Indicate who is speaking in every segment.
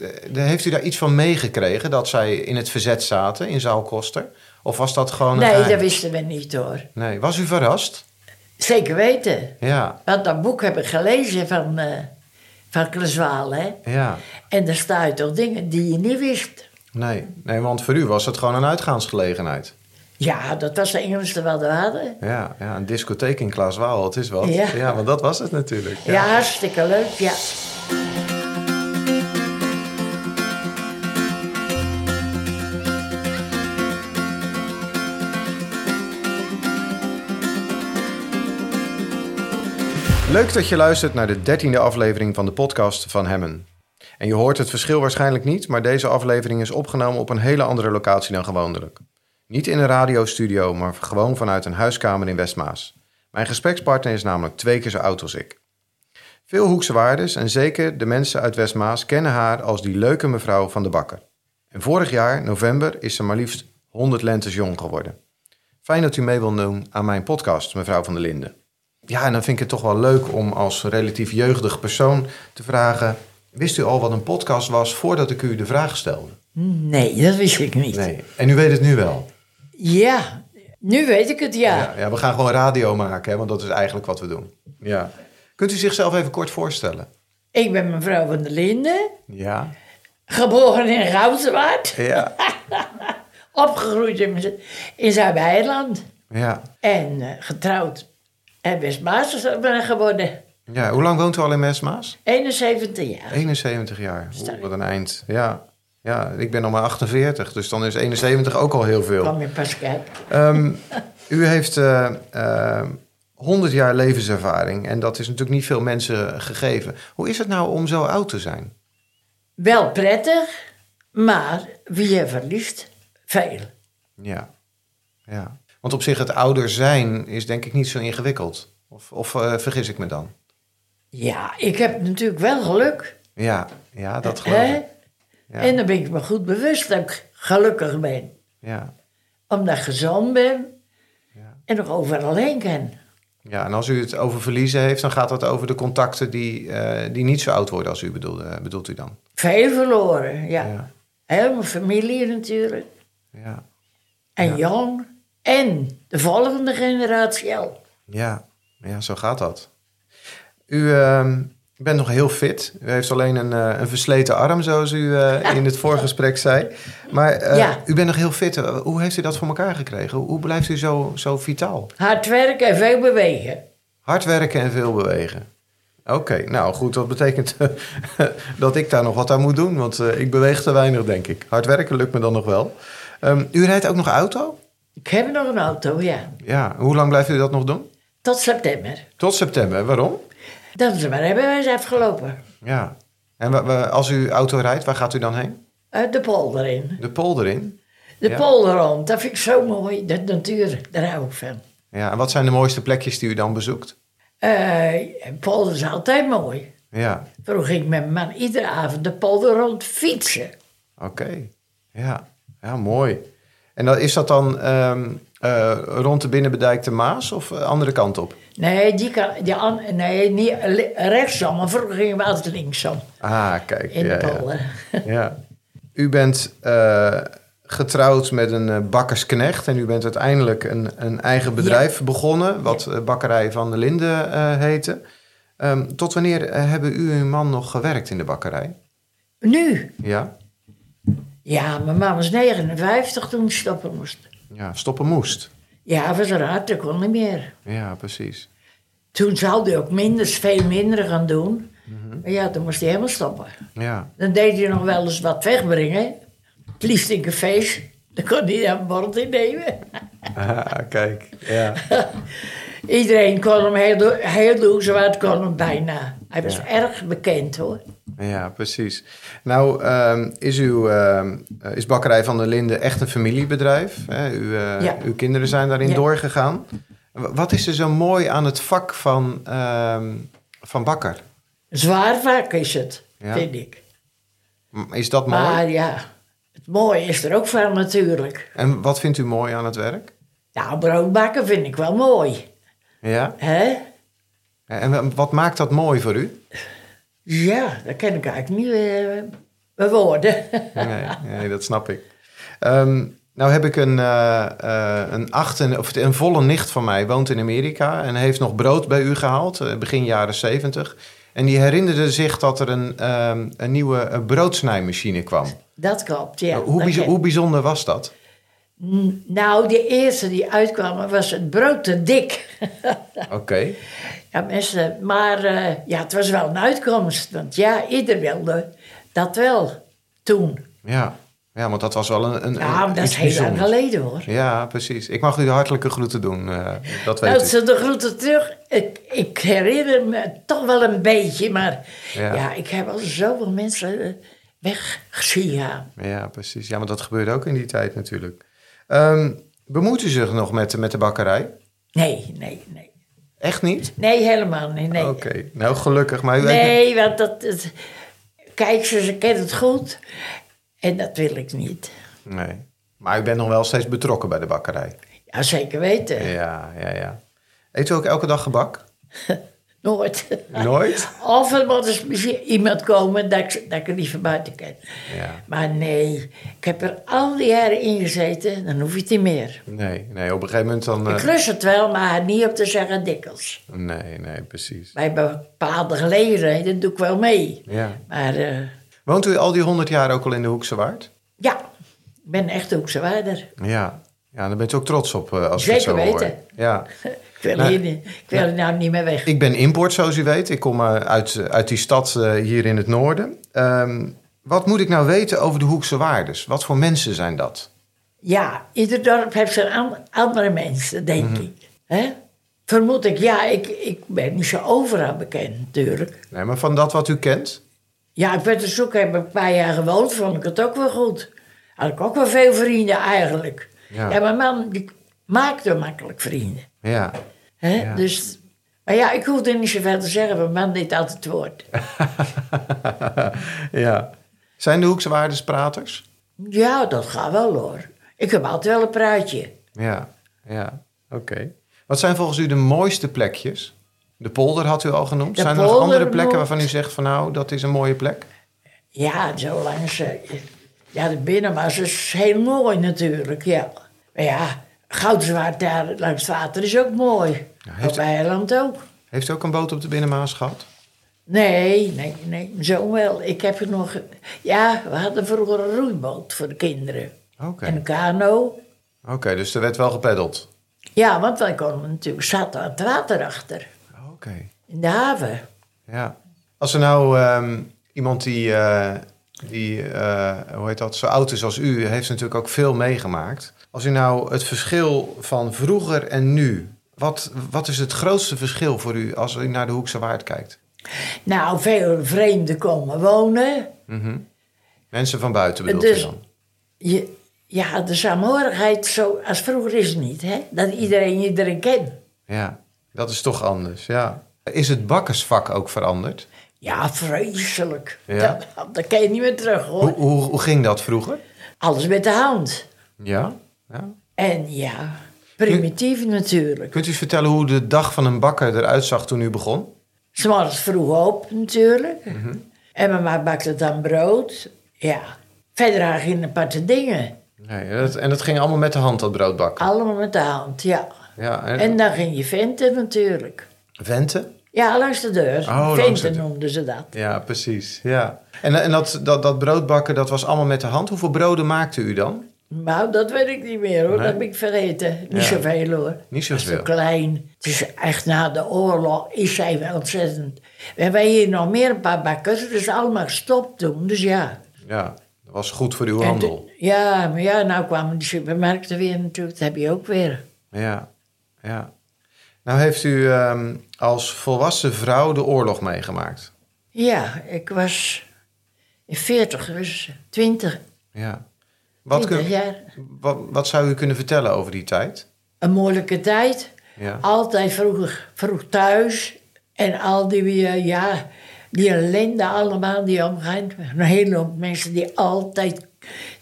Speaker 1: Eh, Heeft u daar iets van meegekregen dat zij in het verzet zaten in Zaalkoster? Of was dat gewoon. een
Speaker 2: Nee,
Speaker 1: geheim?
Speaker 2: dat wisten we niet hoor.
Speaker 1: Nee, was u verrast?
Speaker 2: Zeker weten.
Speaker 1: Ja,
Speaker 2: Want dat boek heb ik gelezen van, eh van Kleswaal, hè.
Speaker 1: ja.
Speaker 2: En daar staan toch dingen die je niet wist.
Speaker 1: Nee. nee, want voor u was het gewoon een uitgaansgelegenheid.
Speaker 2: Ja, dat was de Engelse wat we hadden.
Speaker 1: Ja, ja een discotheek in Klaaswaal, het is wat.
Speaker 2: Ja.
Speaker 1: want dat was het natuurlijk.
Speaker 2: Ja, hartstikke leuk, ja.
Speaker 1: Leuk dat je luistert naar de dertiende aflevering van de podcast van Hemmen. En je hoort het verschil waarschijnlijk niet, maar deze aflevering is opgenomen op een hele andere locatie dan gewoonlijk. Niet in een radiostudio, maar gewoon vanuit een huiskamer in Westmaas. Mijn gesprekspartner is namelijk twee keer zo oud als ik. Veel Hoekse waardes en zeker de mensen uit Westmaas kennen haar als die leuke mevrouw van de bakker. En vorig jaar, november, is ze maar liefst 100 lentes jong geworden. Fijn dat u mee wil doen aan mijn podcast, mevrouw van der Linden. Ja, en dan vind ik het toch wel leuk om als relatief jeugdig persoon te vragen... Wist u al wat een podcast was voordat ik u de vraag stelde?
Speaker 2: Nee, dat wist ik niet.
Speaker 1: Nee. En u weet het nu wel?
Speaker 2: Ja, nu weet ik het, ja.
Speaker 1: ja, we gaan gewoon radio maken, hè, want dat is eigenlijk wat we doen. Ja. Kunt u zichzelf even kort voorstellen?
Speaker 2: Ik ben mevrouw van der Linden,
Speaker 1: Ja.
Speaker 2: geboren in Goudswaard,
Speaker 1: Ja.
Speaker 2: opgegroeid in, in Zuid-Eiland.
Speaker 1: Ja.
Speaker 2: En eh, getrouwd en Westmaasters ben geworden.
Speaker 1: ja. Hoe lang woont u al in Westmaas?
Speaker 2: 71 jaar.
Speaker 1: 71 jaar. Oeh, wat een eind. Ja. Ja, ik ben nog maar 48, dus dan is 71 ook al heel veel.
Speaker 2: kwam in Pascal.
Speaker 1: Ehm, u heeft eh, eh, 100 jaar levenservaring en dat is natuurlijk niet veel mensen gegeven. Hoe is het nou om zo oud te zijn?
Speaker 2: Wel prettig, maar wie je verliest, veel.
Speaker 1: Ja. ja. Want op zich, het ouder zijn is denk ik niet zo ingewikkeld. Of, of eh, vergis ik me dan?
Speaker 2: Ja, ik heb natuurlijk wel geluk.
Speaker 1: Ja, ja dat geloof
Speaker 2: Hè?
Speaker 1: ik. Ja.
Speaker 2: En daar ben ik me goed bewust dat ik gelukkig ben.
Speaker 1: Ja.
Speaker 2: Omdat ik gezond ben
Speaker 1: Ja.
Speaker 2: en nog overal heen kan.
Speaker 1: ja, en als u het over verliezen heeft, dan gaat dat over de contacten die, eh, die niet zo oud worden als u bedoelde, bedoelt u dan?
Speaker 2: Veel verloren, ja.
Speaker 1: Ja.
Speaker 2: Heel mijn familie natuurlijk.
Speaker 1: Ja,
Speaker 2: En jong. En de volgende generatie al.
Speaker 1: ja, ja zo gaat dat. U ehm, bent nog heel fit. U heeft alleen een, eh, een versleten arm, zoals u eh, in het voorgesprek zei. Maar eh,
Speaker 2: Ja.
Speaker 1: u bent nog heel fit. Eh, Hoe heeft u dat voor elkaar gekregen? Hoe blijft u zo, zo vitaal?
Speaker 2: Hard werken en veel bewegen.
Speaker 1: Hard werken en veel bewegen. Oké, nou goed, dat betekent eh, dat ik daar nog wat aan moet doen, want eh, ik beweeg te weinig, denk ik. Hard werken lukt me dan nog wel. Ehm, u rijdt ook nog auto?
Speaker 2: Ik heb nog een auto, ja.
Speaker 1: Ja, hoe lang blijft u dat nog doen?
Speaker 2: Tot september.
Speaker 1: Tot september, waarom?
Speaker 2: Dan is mijn rijbewijs afgelopen.
Speaker 1: Ja. En wa- wa- als u auto rijdt, waar gaat u dan heen?
Speaker 2: Uit Eh, de polder in.
Speaker 1: De polder in?
Speaker 2: De
Speaker 1: Ja.
Speaker 2: polder rond. Dat vind ik zo mooi. De natuur, daar hou ik van.
Speaker 1: Ja, en wat zijn de mooiste plekjes die u dan bezoekt?
Speaker 2: Eh, polder is altijd mooi.
Speaker 1: Ja,
Speaker 2: Vroeger ging mijn man iedere avond de polder rond fietsen.
Speaker 1: oké. Ja. ja, mooi. En dan, is dat dan ehm, eh, rond de binnenbedijkte Maas of eh, andere kant op?
Speaker 2: Nee, die kan, die an, nee niet li- rechtsom, maar vroeger gingen we altijd linksom.
Speaker 1: Ah, kijk.
Speaker 2: In
Speaker 1: ja,
Speaker 2: de
Speaker 1: ja.
Speaker 2: polder.
Speaker 1: Ja. U bent eh, getrouwd met een eh, bakkersknecht en u bent uiteindelijk een, een eigen bedrijf begonnen, wat eh, Bakkerij van de Linden eh, heette. Ehm, tot wanneer eh, hebben u en uw man nog gewerkt in de bakkerij?
Speaker 2: Nu?
Speaker 1: Ja,
Speaker 2: Ja, mijn man was 59 toen ze stoppen moest.
Speaker 1: ja stoppen moest.
Speaker 2: Ja, was raar, dat kon niet meer.
Speaker 1: Ja, precies.
Speaker 2: Toen zou hij ook minder, veel minder gaan doen.
Speaker 1: Mhm.
Speaker 2: Maar ja, toen moest hij helemaal stoppen.
Speaker 1: Ja,
Speaker 2: Dan deed hij nog wel eens wat wegbrengen. Het liefst in cafés. Dan kon hij daar een bord in nemen.
Speaker 1: Ah, kijk. Ja.
Speaker 2: Iedereen kon hem heel, do- heel doezwaard, kon hem bijna. Hij was erg bekend hoor.
Speaker 1: ja, precies. Nou, ehm, is, uw, ehm, eh, is Bakkerij van de Linden echt een familiebedrijf? Hè? U, eh,
Speaker 2: Ja.
Speaker 1: Uw kinderen zijn daarin
Speaker 2: Ja.
Speaker 1: doorgegaan. W- Wat is er zo mooi aan het vak van, ehm, van bakker?
Speaker 2: Zwaar vak is het,
Speaker 1: Ja.
Speaker 2: vind ik.
Speaker 1: M- Is dat mooi?
Speaker 2: Maar ja, het mooie is er ook van natuurlijk.
Speaker 1: En wat vindt u mooi aan het werk?
Speaker 2: Nou, brood bakken vind ik wel mooi.
Speaker 1: Ja?
Speaker 2: hè?
Speaker 1: En w- wat maakt dat mooi voor u?
Speaker 2: Ja, dat kan ik eigenlijk niet eh, mijn woorden.
Speaker 1: Nee, nee, dat snap ik. Ehm, nou heb ik een, eh, eh, een, acht en, of een volle nicht van mij, woont in Amerika en heeft nog brood bij u gehaald, eh, begin jaren zeventig. En die herinnerde zich dat er een, ehm, een nieuwe eh, broodsnijmachine kwam. Nou,
Speaker 2: Dat klopt, ja.
Speaker 1: hoe,
Speaker 2: Dat
Speaker 1: bijz-
Speaker 2: ken-
Speaker 1: hoe bijzonder was dat?
Speaker 2: N- Nou, de eerste die uitkwam was het brood te dik.
Speaker 1: Oké.
Speaker 2: Ja, mensen, maar eh, ja, het was wel een uitkomst. Want ja, ieder wilde dat wel toen.
Speaker 1: Ja. ja, want dat was wel een, een,
Speaker 2: Ja,
Speaker 1: een-
Speaker 2: maar dat is
Speaker 1: Eh, iets
Speaker 2: heel lang
Speaker 1: bijzonders.
Speaker 2: geleden hoor.
Speaker 1: Ja, precies. Ik mag u de hartelijke groeten doen, eh, dat
Speaker 2: Nou,
Speaker 1: weet u.
Speaker 2: ze de groeten terug. Ik, ik herinner me toch wel een beetje, maar
Speaker 1: Ja.
Speaker 2: ja, ik heb al zoveel mensen eh, weggezien. Ja.
Speaker 1: Ja, precies. Ja, want dat gebeurde ook in die tijd natuurlijk. Ehm bemoeit u zich nog met, met de bakkerij?
Speaker 2: Nee, nee, nee.
Speaker 1: Echt niet?
Speaker 2: Nee, helemaal niet. Nee,
Speaker 1: Oké, nou gelukkig. Maar u weet
Speaker 2: nee want dat, dat- Kijk, ze, ze kennen het goed. En dat wil ik niet.
Speaker 1: nee. Maar u bent nog wel steeds betrokken bij de bakkerij.
Speaker 2: Ja, zeker weten.
Speaker 1: Ja, ja, ja. Eet u ook elke dag gebak?
Speaker 2: Nooit.
Speaker 1: Nooit?
Speaker 2: Of er moet eens misschien iemand komen dat ik, dat ik er niet van buiten ken.
Speaker 1: Ja.
Speaker 2: Maar nee, ik heb er al die jaren in gezeten, dan hoef je het niet meer.
Speaker 1: Nee, nee, op een gegeven moment dan...
Speaker 2: Ik
Speaker 1: eh,
Speaker 2: klus het wel, maar niet op te zeggen dikwijls.
Speaker 1: nee, nee, precies.
Speaker 2: Bij bepaalde gelegenheden doe ik wel mee.
Speaker 1: Ja.
Speaker 2: Maar eh,
Speaker 1: Woont u al die honderd jaar ook al in de Hoekse Waard?
Speaker 2: ja, ik ben echt Hoekse waarder.
Speaker 1: Ja. Ja, daar bent u ook trots op eh, als ik het
Speaker 2: Zeker
Speaker 1: zo hoor.
Speaker 2: weten.
Speaker 1: Ja.
Speaker 2: Ik wil,
Speaker 1: Nee.
Speaker 2: hier niet, ik wil er nou niet meer weg.
Speaker 1: Ik ben import, zoals u weet. Ik kom eh, uit, eh, uit die stad eh, hier in het noorden. Ehm, wat moet ik nou weten over de Hoekse Waardes? Wat voor mensen zijn dat?
Speaker 2: Ja, ieder dorp heeft zijn an- andere mensen, denk ik. Hè? Vermoed ik, ja, ik, ik ben niet zo overal bekend natuurlijk.
Speaker 1: Nee, maar van dat wat u kent?
Speaker 2: Ja, ik ben er zoek, heb ik een paar jaar gewoond, vond ik het ook wel goed. Had ik ook wel veel vrienden eigenlijk.
Speaker 1: Ja.
Speaker 2: Ja, mijn man die maakte makkelijk vrienden.
Speaker 1: Ja.
Speaker 2: Hè?
Speaker 1: Ja.
Speaker 2: Dus, maar ja, ik hoefde niet zoveel te zeggen, mijn man deed altijd het woord.
Speaker 1: ja. Zijn de Hoekse Waardes praters?
Speaker 2: Ja, dat gaat wel hoor. Ik heb altijd wel een praatje.
Speaker 1: Ja. Ja. Oké. Wat zijn volgens u de mooiste plekjes? De polder had u al genoemd.
Speaker 2: De
Speaker 1: zijn er nog
Speaker 2: polder
Speaker 1: andere plekken
Speaker 2: moet-
Speaker 1: waarvan u zegt van nou, dat is een mooie plek?
Speaker 2: Ja, zolang ze... Ja, de binnenmas is heel mooi natuurlijk, ja. Maar ja, goudzwaard daar langs het water is ook mooi.
Speaker 1: heeft-
Speaker 2: Op eiland ook.
Speaker 1: Heeft u ook een boot op de Binnenmaas gehad?
Speaker 2: Nee, nee, nee, zo wel. Ik heb er nog... Ja, we hadden vroeger een roeiboot voor de kinderen.
Speaker 1: Oké.
Speaker 2: En een kano.
Speaker 1: Oké, dus er werd wel gepeddeld.
Speaker 2: Ja, want wij konden natuurlijk... zaten aan het water achter.
Speaker 1: Oké.
Speaker 2: In de haven.
Speaker 1: Ja. Als er nou ehm, iemand die, eh, die eh, hoe heet dat, zo oud is als u, heeft natuurlijk ook veel meegemaakt. Als u nou het verschil van vroeger en nu, wat, wat is het grootste verschil voor u als u naar de Hoekse Waard kijkt?
Speaker 2: Nou, veel vreemden komen wonen.
Speaker 1: Mensen van buiten bedoelt u
Speaker 2: Dus-
Speaker 1: dan?
Speaker 2: Je, ja, de saamhorigheid zo als vroeger is het niet, hè? Dat iedereen iedereen kent.
Speaker 1: Ja, dat is toch anders, ja. Is het bakkersvak ook veranderd?
Speaker 2: Ja, vreselijk.
Speaker 1: Ja.
Speaker 2: Dat, dat kan je niet meer terug, hoor.
Speaker 1: Hoe, hoe, hoe ging dat vroeger?
Speaker 2: Alles met de hand.
Speaker 1: Ja? ja.
Speaker 2: En ja, primitief natuurlijk.
Speaker 1: Kunt u eens vertellen hoe de dag van een bakker eruit zag toen u begon?
Speaker 2: S'morgens vroeg op natuurlijk.
Speaker 1: Mhm.
Speaker 2: En mama bakte dan brood. Ja. Verder had ik geen aparte dingen.
Speaker 1: Nee, dat, en dat ging allemaal met de hand, dat brood bakken.
Speaker 2: Allemaal met de hand, ja.
Speaker 1: Ja,
Speaker 2: En dan ging je venten natuurlijk.
Speaker 1: Venten?
Speaker 2: Ja, langs de deur.
Speaker 1: Oh, langs de
Speaker 2: venten
Speaker 1: deur.
Speaker 2: noemden ze dat.
Speaker 1: Ja, precies. Ja. En, en dat, dat, dat broodbakken, dat was allemaal met de hand. Hoeveel broden maakte u dan?
Speaker 2: Nou, dat weet ik niet meer hoor.
Speaker 1: Nee?
Speaker 2: Dat heb ik vergeten. Niet
Speaker 1: Ja.
Speaker 2: zoveel hoor.
Speaker 1: Niet
Speaker 2: Dat is te
Speaker 1: zoveel.
Speaker 2: klein. Het is echt na de oorlog is zij wel ontzettend. We hebben hier nog meer een paar bakkers. Het is allemaal gestopt toen, dus ja.
Speaker 1: Ja, dat was goed voor uw
Speaker 2: En
Speaker 1: handel.
Speaker 2: toen- ja, maar ja, nou kwamen die supermarkten weer natuurlijk. Dat heb je ook weer.
Speaker 1: Ja, ja. Nou heeft u ehm, als volwassen vrouw de oorlog meegemaakt.
Speaker 2: Ja, ik was in 40, dus 20,
Speaker 1: Ja. Wat,
Speaker 2: 20
Speaker 1: kun,
Speaker 2: jaar.
Speaker 1: wat, wat zou u kunnen vertellen over die tijd?
Speaker 2: Een moeilijke tijd.
Speaker 1: Ja.
Speaker 2: Altijd vroeg, vroeg thuis. En al die, eh, ja, die ellende allemaal die omgaan. Een hele hoop mensen die altijd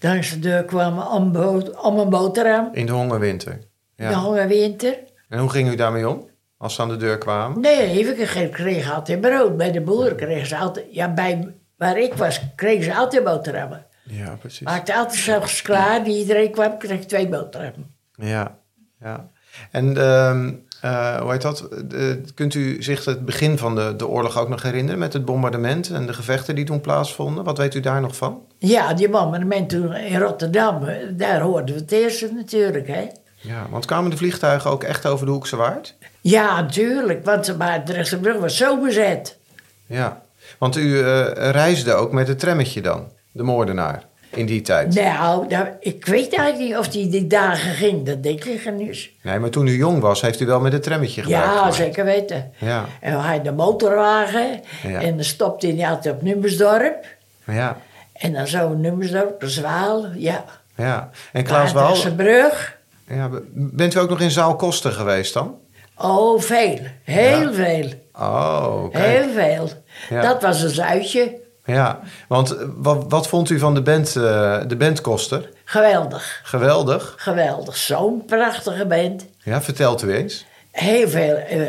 Speaker 2: langs de deur kwamen om, boot, om een boterham.
Speaker 1: In de hongerwinter.
Speaker 2: De
Speaker 1: Ja.
Speaker 2: hongerwinter.
Speaker 1: En hoe ging u daarmee om? Als ze aan de deur kwamen?
Speaker 2: Nee, ik kreeg altijd brood. Bij de boer kreeg ze altijd... Ja, bij Waar ik was, kregen ze altijd boterhammen.
Speaker 1: Ja, precies.
Speaker 2: Maakte altijd zelfs klaar, die iedereen kwam, kreeg twee boterhammen.
Speaker 1: Ja, ja. En ehm, eh, hoe heet dat? Eh, kunt u zich het begin van de, de oorlog ook nog herinneren met het bombardement en de gevechten die toen plaatsvonden? Wat weet u daar nog van?
Speaker 2: Ja, die bombardement toen in Rotterdam, daar hoorden we het eerste natuurlijk, hè.
Speaker 1: Ja, want kwamen de vliegtuigen ook echt over de Hoekse Waard?
Speaker 2: Ja, natuurlijk, want de Maartrechtse brug was zo bezet.
Speaker 1: Ja, want u eh, reisde ook met het trammetje dan, de moordenaar, in die tijd.
Speaker 2: Nou, daar- ik weet eigenlijk niet of die die dagen ging, dat denk ik er niet.
Speaker 1: Nee, maar toen u jong was, heeft u wel met het trammetje gebruikt.
Speaker 2: Ja,
Speaker 1: gemaakt.
Speaker 2: zeker weten.
Speaker 1: Ja.
Speaker 2: En we hadden de motorwagen
Speaker 1: Ja.
Speaker 2: en dan stopte hij altijd op Nummersdorp.
Speaker 1: Ja,
Speaker 2: En dan zo Nummersdorp, de Zwaal, ja.
Speaker 1: ja. En Klaas Waal,
Speaker 2: Waardrechtse brug.
Speaker 1: ja, b- bent u ook nog in Zaal Koster geweest dan?
Speaker 2: Oh, veel. Heel
Speaker 1: Ja.
Speaker 2: veel.
Speaker 1: Oh, oké.
Speaker 2: Heel veel.
Speaker 1: Ja.
Speaker 2: Dat was een uitje.
Speaker 1: Ja, want eh, wat, wat vond u van de, band, eh, de bandkoster?
Speaker 2: Geweldig.
Speaker 1: Geweldig.
Speaker 2: Geweldig. Zo'n prachtige band.
Speaker 1: Ja, vertelt u eens.
Speaker 2: Heel veel. eh,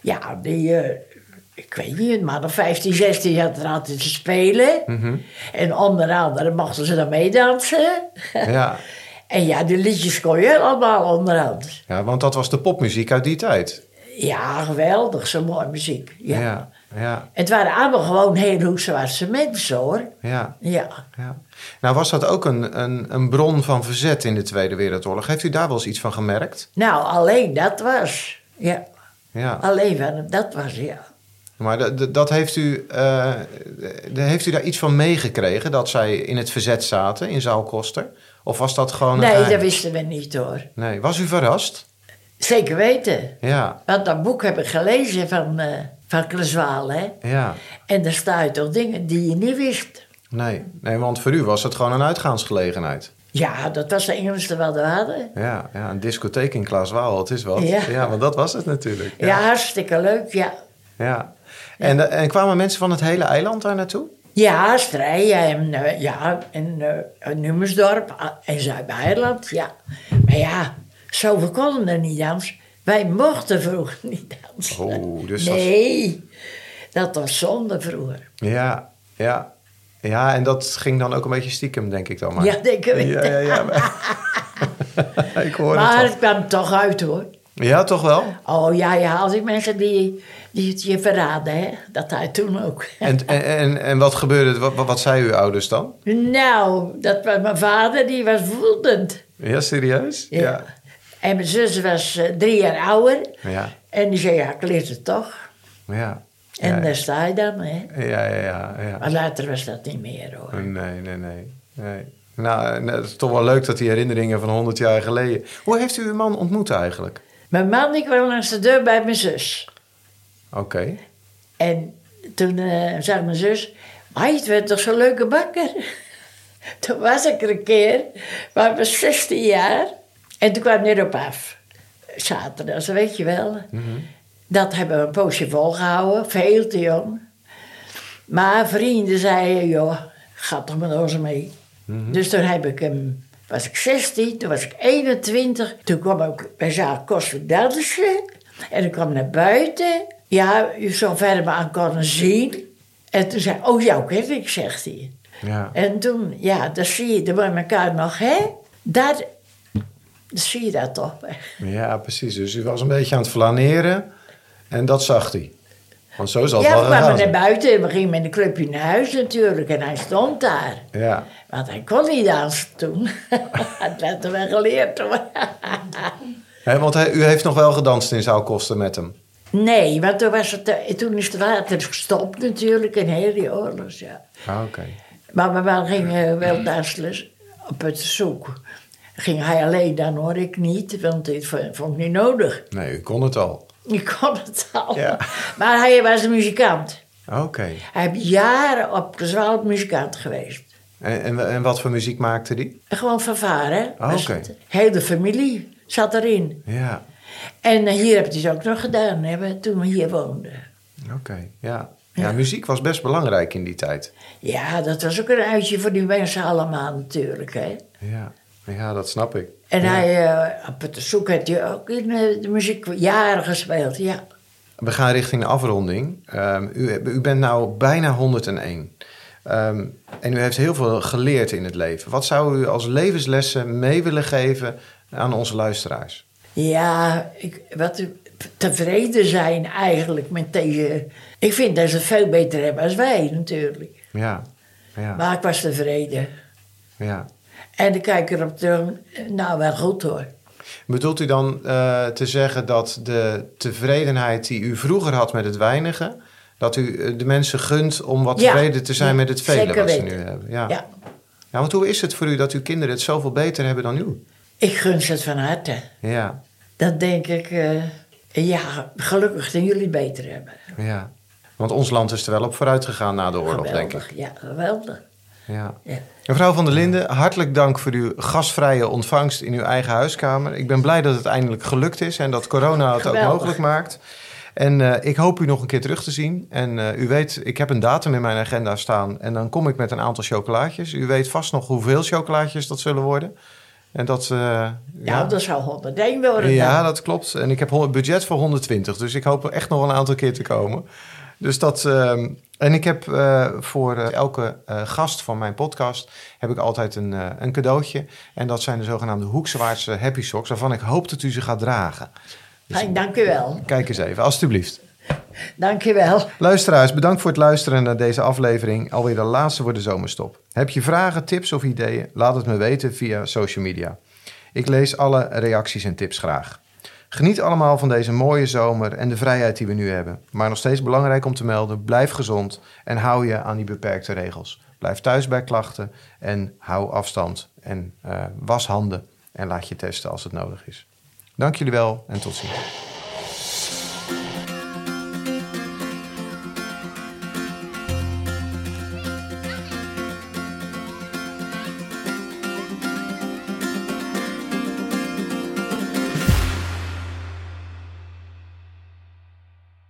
Speaker 2: ja, die. eh, ik weet niet, maar de 15, 16 had er altijd te spelen. En onder andere mochten ze dan meedansen.
Speaker 1: Ja.
Speaker 2: En ja, die liedjes kon je allemaal onderhand.
Speaker 1: ja, want dat was de popmuziek uit die tijd.
Speaker 2: Ja, geweldig, zo mooie muziek. Ja.
Speaker 1: ja, ja.
Speaker 2: Het waren allemaal gewoon heel Hoekswaardse mensen hoor.
Speaker 1: ja,
Speaker 2: Ja.
Speaker 1: ja. Nou was dat ook een, een, een bron van verzet in de Tweede Wereldoorlog. Heeft u daar wel eens iets van gemerkt?
Speaker 2: Nou, alleen dat was. Ja.
Speaker 1: Ja,
Speaker 2: Alleen van dat was, ja.
Speaker 1: maar dat- dat- dat heeft, u, eh, de- heeft u daar iets van meegekregen dat zij in het verzet zaten in Zaalkoster? Of was dat gewoon. een
Speaker 2: Nee,
Speaker 1: geheim?
Speaker 2: dat wisten we niet hoor.
Speaker 1: nee. Was u verrast?
Speaker 2: Zeker weten.
Speaker 1: Ja,
Speaker 2: Want dat boek heb ik gelezen van, eh van Kleswaal, hè.
Speaker 1: ja.
Speaker 2: En daar staan toch dingen die je niet wist.
Speaker 1: Nee. nee, want voor u was het gewoon een uitgaansgelegenheid.
Speaker 2: Ja, dat was de Engelse wat we hadden.
Speaker 1: Ja, ja een discotheek in Klaaswaal, het is wat. Ja.
Speaker 2: Ja.
Speaker 1: want dat was het natuurlijk.
Speaker 2: Ja, hartstikke leuk, ja.
Speaker 1: ja. En, eh, en kwamen mensen van het hele eiland daar naartoe?
Speaker 2: Ja, Strijen en, eh, ja, en eh Nummersdorp ah, en Zuid-Beiland, ja. Maar ja, zoveel konden er niet dansen. Wij mochten vroeger niet dansen.
Speaker 1: Oh, dus dat-
Speaker 2: nee, dat was zonde vroeger.
Speaker 1: Ja, ja. Ja, en dat ging dan ook een beetje stiekem, denk ik dan maar.
Speaker 2: Ja, denk ik.
Speaker 1: Ja, ja, ja. ik hoor
Speaker 2: maar
Speaker 1: het
Speaker 2: het kwam toch uit hoor.
Speaker 1: al. Ja, toch wel?
Speaker 2: Oh ja, je had die mensen die, die het je verraden, hè. Dat hij toen ook.
Speaker 1: En, en, en, en wat gebeurde er? Wat, wat, wat zei uw ouders dan?
Speaker 2: Nou, dat was mijn vader, die was woedend.
Speaker 1: Ja, serieus?
Speaker 2: En mijn zus was eh, drie jaar ouder.
Speaker 1: Ja.
Speaker 2: En die zei, ja, ik lees het toch.
Speaker 1: Ja.
Speaker 2: En
Speaker 1: ja.
Speaker 2: daar sta je dan, hè.
Speaker 1: ja, ja, ja, ja.
Speaker 2: Maar later was dat niet meer, hoor.
Speaker 1: Nee, nee, nee. nee. Nou, eh, nou, het is toch wel leuk dat die herinneringen van 100 jaar geleden. Hoe heeft u uw man ontmoet eigenlijk?
Speaker 2: Mijn man, die kwam langs de deur bij mijn zus.
Speaker 1: Oké.
Speaker 2: En toen eh, zei mijn zus, hij het werd toch zo'n leuke bakker. toen was ik er een keer, maar ik was 16 jaar. En toen kwam hij erop af. Zaterdag, zo weet je wel. Dat hebben we een poosje volgehouden, veel te jong. Maar vrienden zeiden, joh, ga toch met ons mee.
Speaker 1: Mhm.
Speaker 2: Dus toen heb ik hem, was ik 16, toen was ik 21. Toen kwam ik bij Zaal Koster dansen. En ik kwam naar buiten. Ja, u zou verder me aan kunnen zien. En toen zei hij, oh jou ken ik, zegt hij.
Speaker 1: Ja.
Speaker 2: En toen, ja, dan zie je er bij elkaar nog, hè. Dat, dan zie je dat toch.
Speaker 1: ja, precies. Dus u was een beetje aan het flaneren en dat zag hij. Want zo is dat
Speaker 2: ja,
Speaker 1: wel
Speaker 2: we
Speaker 1: gegaan.
Speaker 2: kwamen naar buiten en we gingen met een clubje naar huis natuurlijk. En hij stond daar.
Speaker 1: Ja.
Speaker 2: Want hij kon niet dansen toen. dat werd er wel geleerd hoor.
Speaker 1: Hè, want hij- u heeft nog wel gedanst in Zaalkosten met hem.
Speaker 2: nee, want toen, was het, eh, toen is het water gestopt natuurlijk in heel die oorlog. Ja.
Speaker 1: Ah, Oké.
Speaker 2: Maar mijn man ging eh, wel dansen op het zoek. Ging hij alleen dan hoor ik niet, want dit v- vond ik niet nodig.
Speaker 1: Nee, u kon het al.
Speaker 2: Ik kon het al.
Speaker 1: Ja.
Speaker 2: Maar hij was een muzikant.
Speaker 1: Oké.
Speaker 2: Hij heeft jaren op de Zwaal muzikant geweest.
Speaker 1: En, en, en wat voor muziek maakte die?
Speaker 2: Gewoon vervaren.
Speaker 1: Ah,
Speaker 2: Was
Speaker 1: oké.
Speaker 2: het. Heel de familie zat erin.
Speaker 1: Ja.
Speaker 2: En eh, hier heb je het ook nog gedaan, hè, we- toen we hier woonden.
Speaker 1: Oké. Ja. ja, muziek was best belangrijk in die tijd.
Speaker 2: Ja, dat was ook een uitje voor die mensen allemaal natuurlijk. Hè.
Speaker 1: Ja. Ja, dat snap ik.
Speaker 2: En
Speaker 1: Ja.
Speaker 2: hij, eh, op het zoek had hij ook in eh, de muziek jaren gespeeld, ja.
Speaker 1: We gaan richting de afronding. Ehm, u, u bent nou bijna 101. Ehm, en u heeft heel veel geleerd in het leven. Wat zou u als levenslessen mee willen geven aan onze luisteraars?
Speaker 2: Ja, ik, wat tevreden zijn eigenlijk met deze. Ik vind dat ze het veel beter hebben als wij natuurlijk.
Speaker 1: Ja, ja,
Speaker 2: Maar ik was tevreden.
Speaker 1: ja.
Speaker 2: En ik kijk erop terug, nou wel goed hoor.
Speaker 1: Bedoelt u dan eh, te zeggen dat de tevredenheid die u vroeger had met het weinige, dat u eh, de mensen gunt om wat
Speaker 2: Ja,
Speaker 1: tevreden te zijn
Speaker 2: ja,
Speaker 1: met het vele
Speaker 2: zeker
Speaker 1: wat ze nu
Speaker 2: weten.
Speaker 1: hebben? Ja.
Speaker 2: Ja,
Speaker 1: Ja, want hoe is het voor u dat uw kinderen het zoveel beter hebben dan u?
Speaker 2: ik gun ze het van harte.
Speaker 1: Ja,
Speaker 2: Dan denk ik, eh, ja, gelukkig dat jullie het beter hebben.
Speaker 1: ja. Want ons land is er wel op vooruit gegaan na de oorlog, denk ik.
Speaker 2: geweldig, ja, geweldig.
Speaker 1: Ja.
Speaker 2: Ja.
Speaker 1: Mevrouw van der Linden, hartelijk dank voor uw gastvrije ontvangst in uw eigen huiskamer. Ik ben blij dat het eindelijk gelukt is en dat corona het ook
Speaker 2: Geweldig.
Speaker 1: mogelijk maakt. En eh, ik hoop u nog een keer terug te zien. En eh, u weet, ik heb een datum in mijn agenda staan en dan kom ik met een aantal chocolaatjes. U weet vast nog hoeveel chocolaatjes dat zullen worden. En dat, eh,
Speaker 2: Nou, dat zou 101 worden.
Speaker 1: ja,
Speaker 2: Ja,
Speaker 1: dat klopt. En ik heb hon- budget voor 120, dus ik hoop er echt nog wel een aantal keer te komen. Dus dat. ehm, en ik heb eh, voor eh, elke eh, gast van mijn podcast heb ik altijd een, eh, een cadeautje. En dat zijn de zogenaamde Hoekswaardse Happy Socks, waarvan ik hoop dat u ze gaat dragen.
Speaker 2: Fijn, dank u wel.
Speaker 1: Kijk eens even, alstublieft.
Speaker 2: Dank u wel.
Speaker 1: Luisteraars, bedankt voor het luisteren naar deze aflevering. Alweer de laatste voor de zomerstop. Heb je vragen, tips of ideeën? Laat het me weten via social media. Ik lees alle reacties en tips graag. Geniet allemaal van deze mooie zomer en de vrijheid die we nu hebben. Maar nog steeds belangrijk om te melden: blijf gezond en hou je aan die beperkte regels. Blijf thuis bij klachten en hou afstand. En eh, was handen en laat je testen als het nodig is. Dank jullie wel en tot ziens.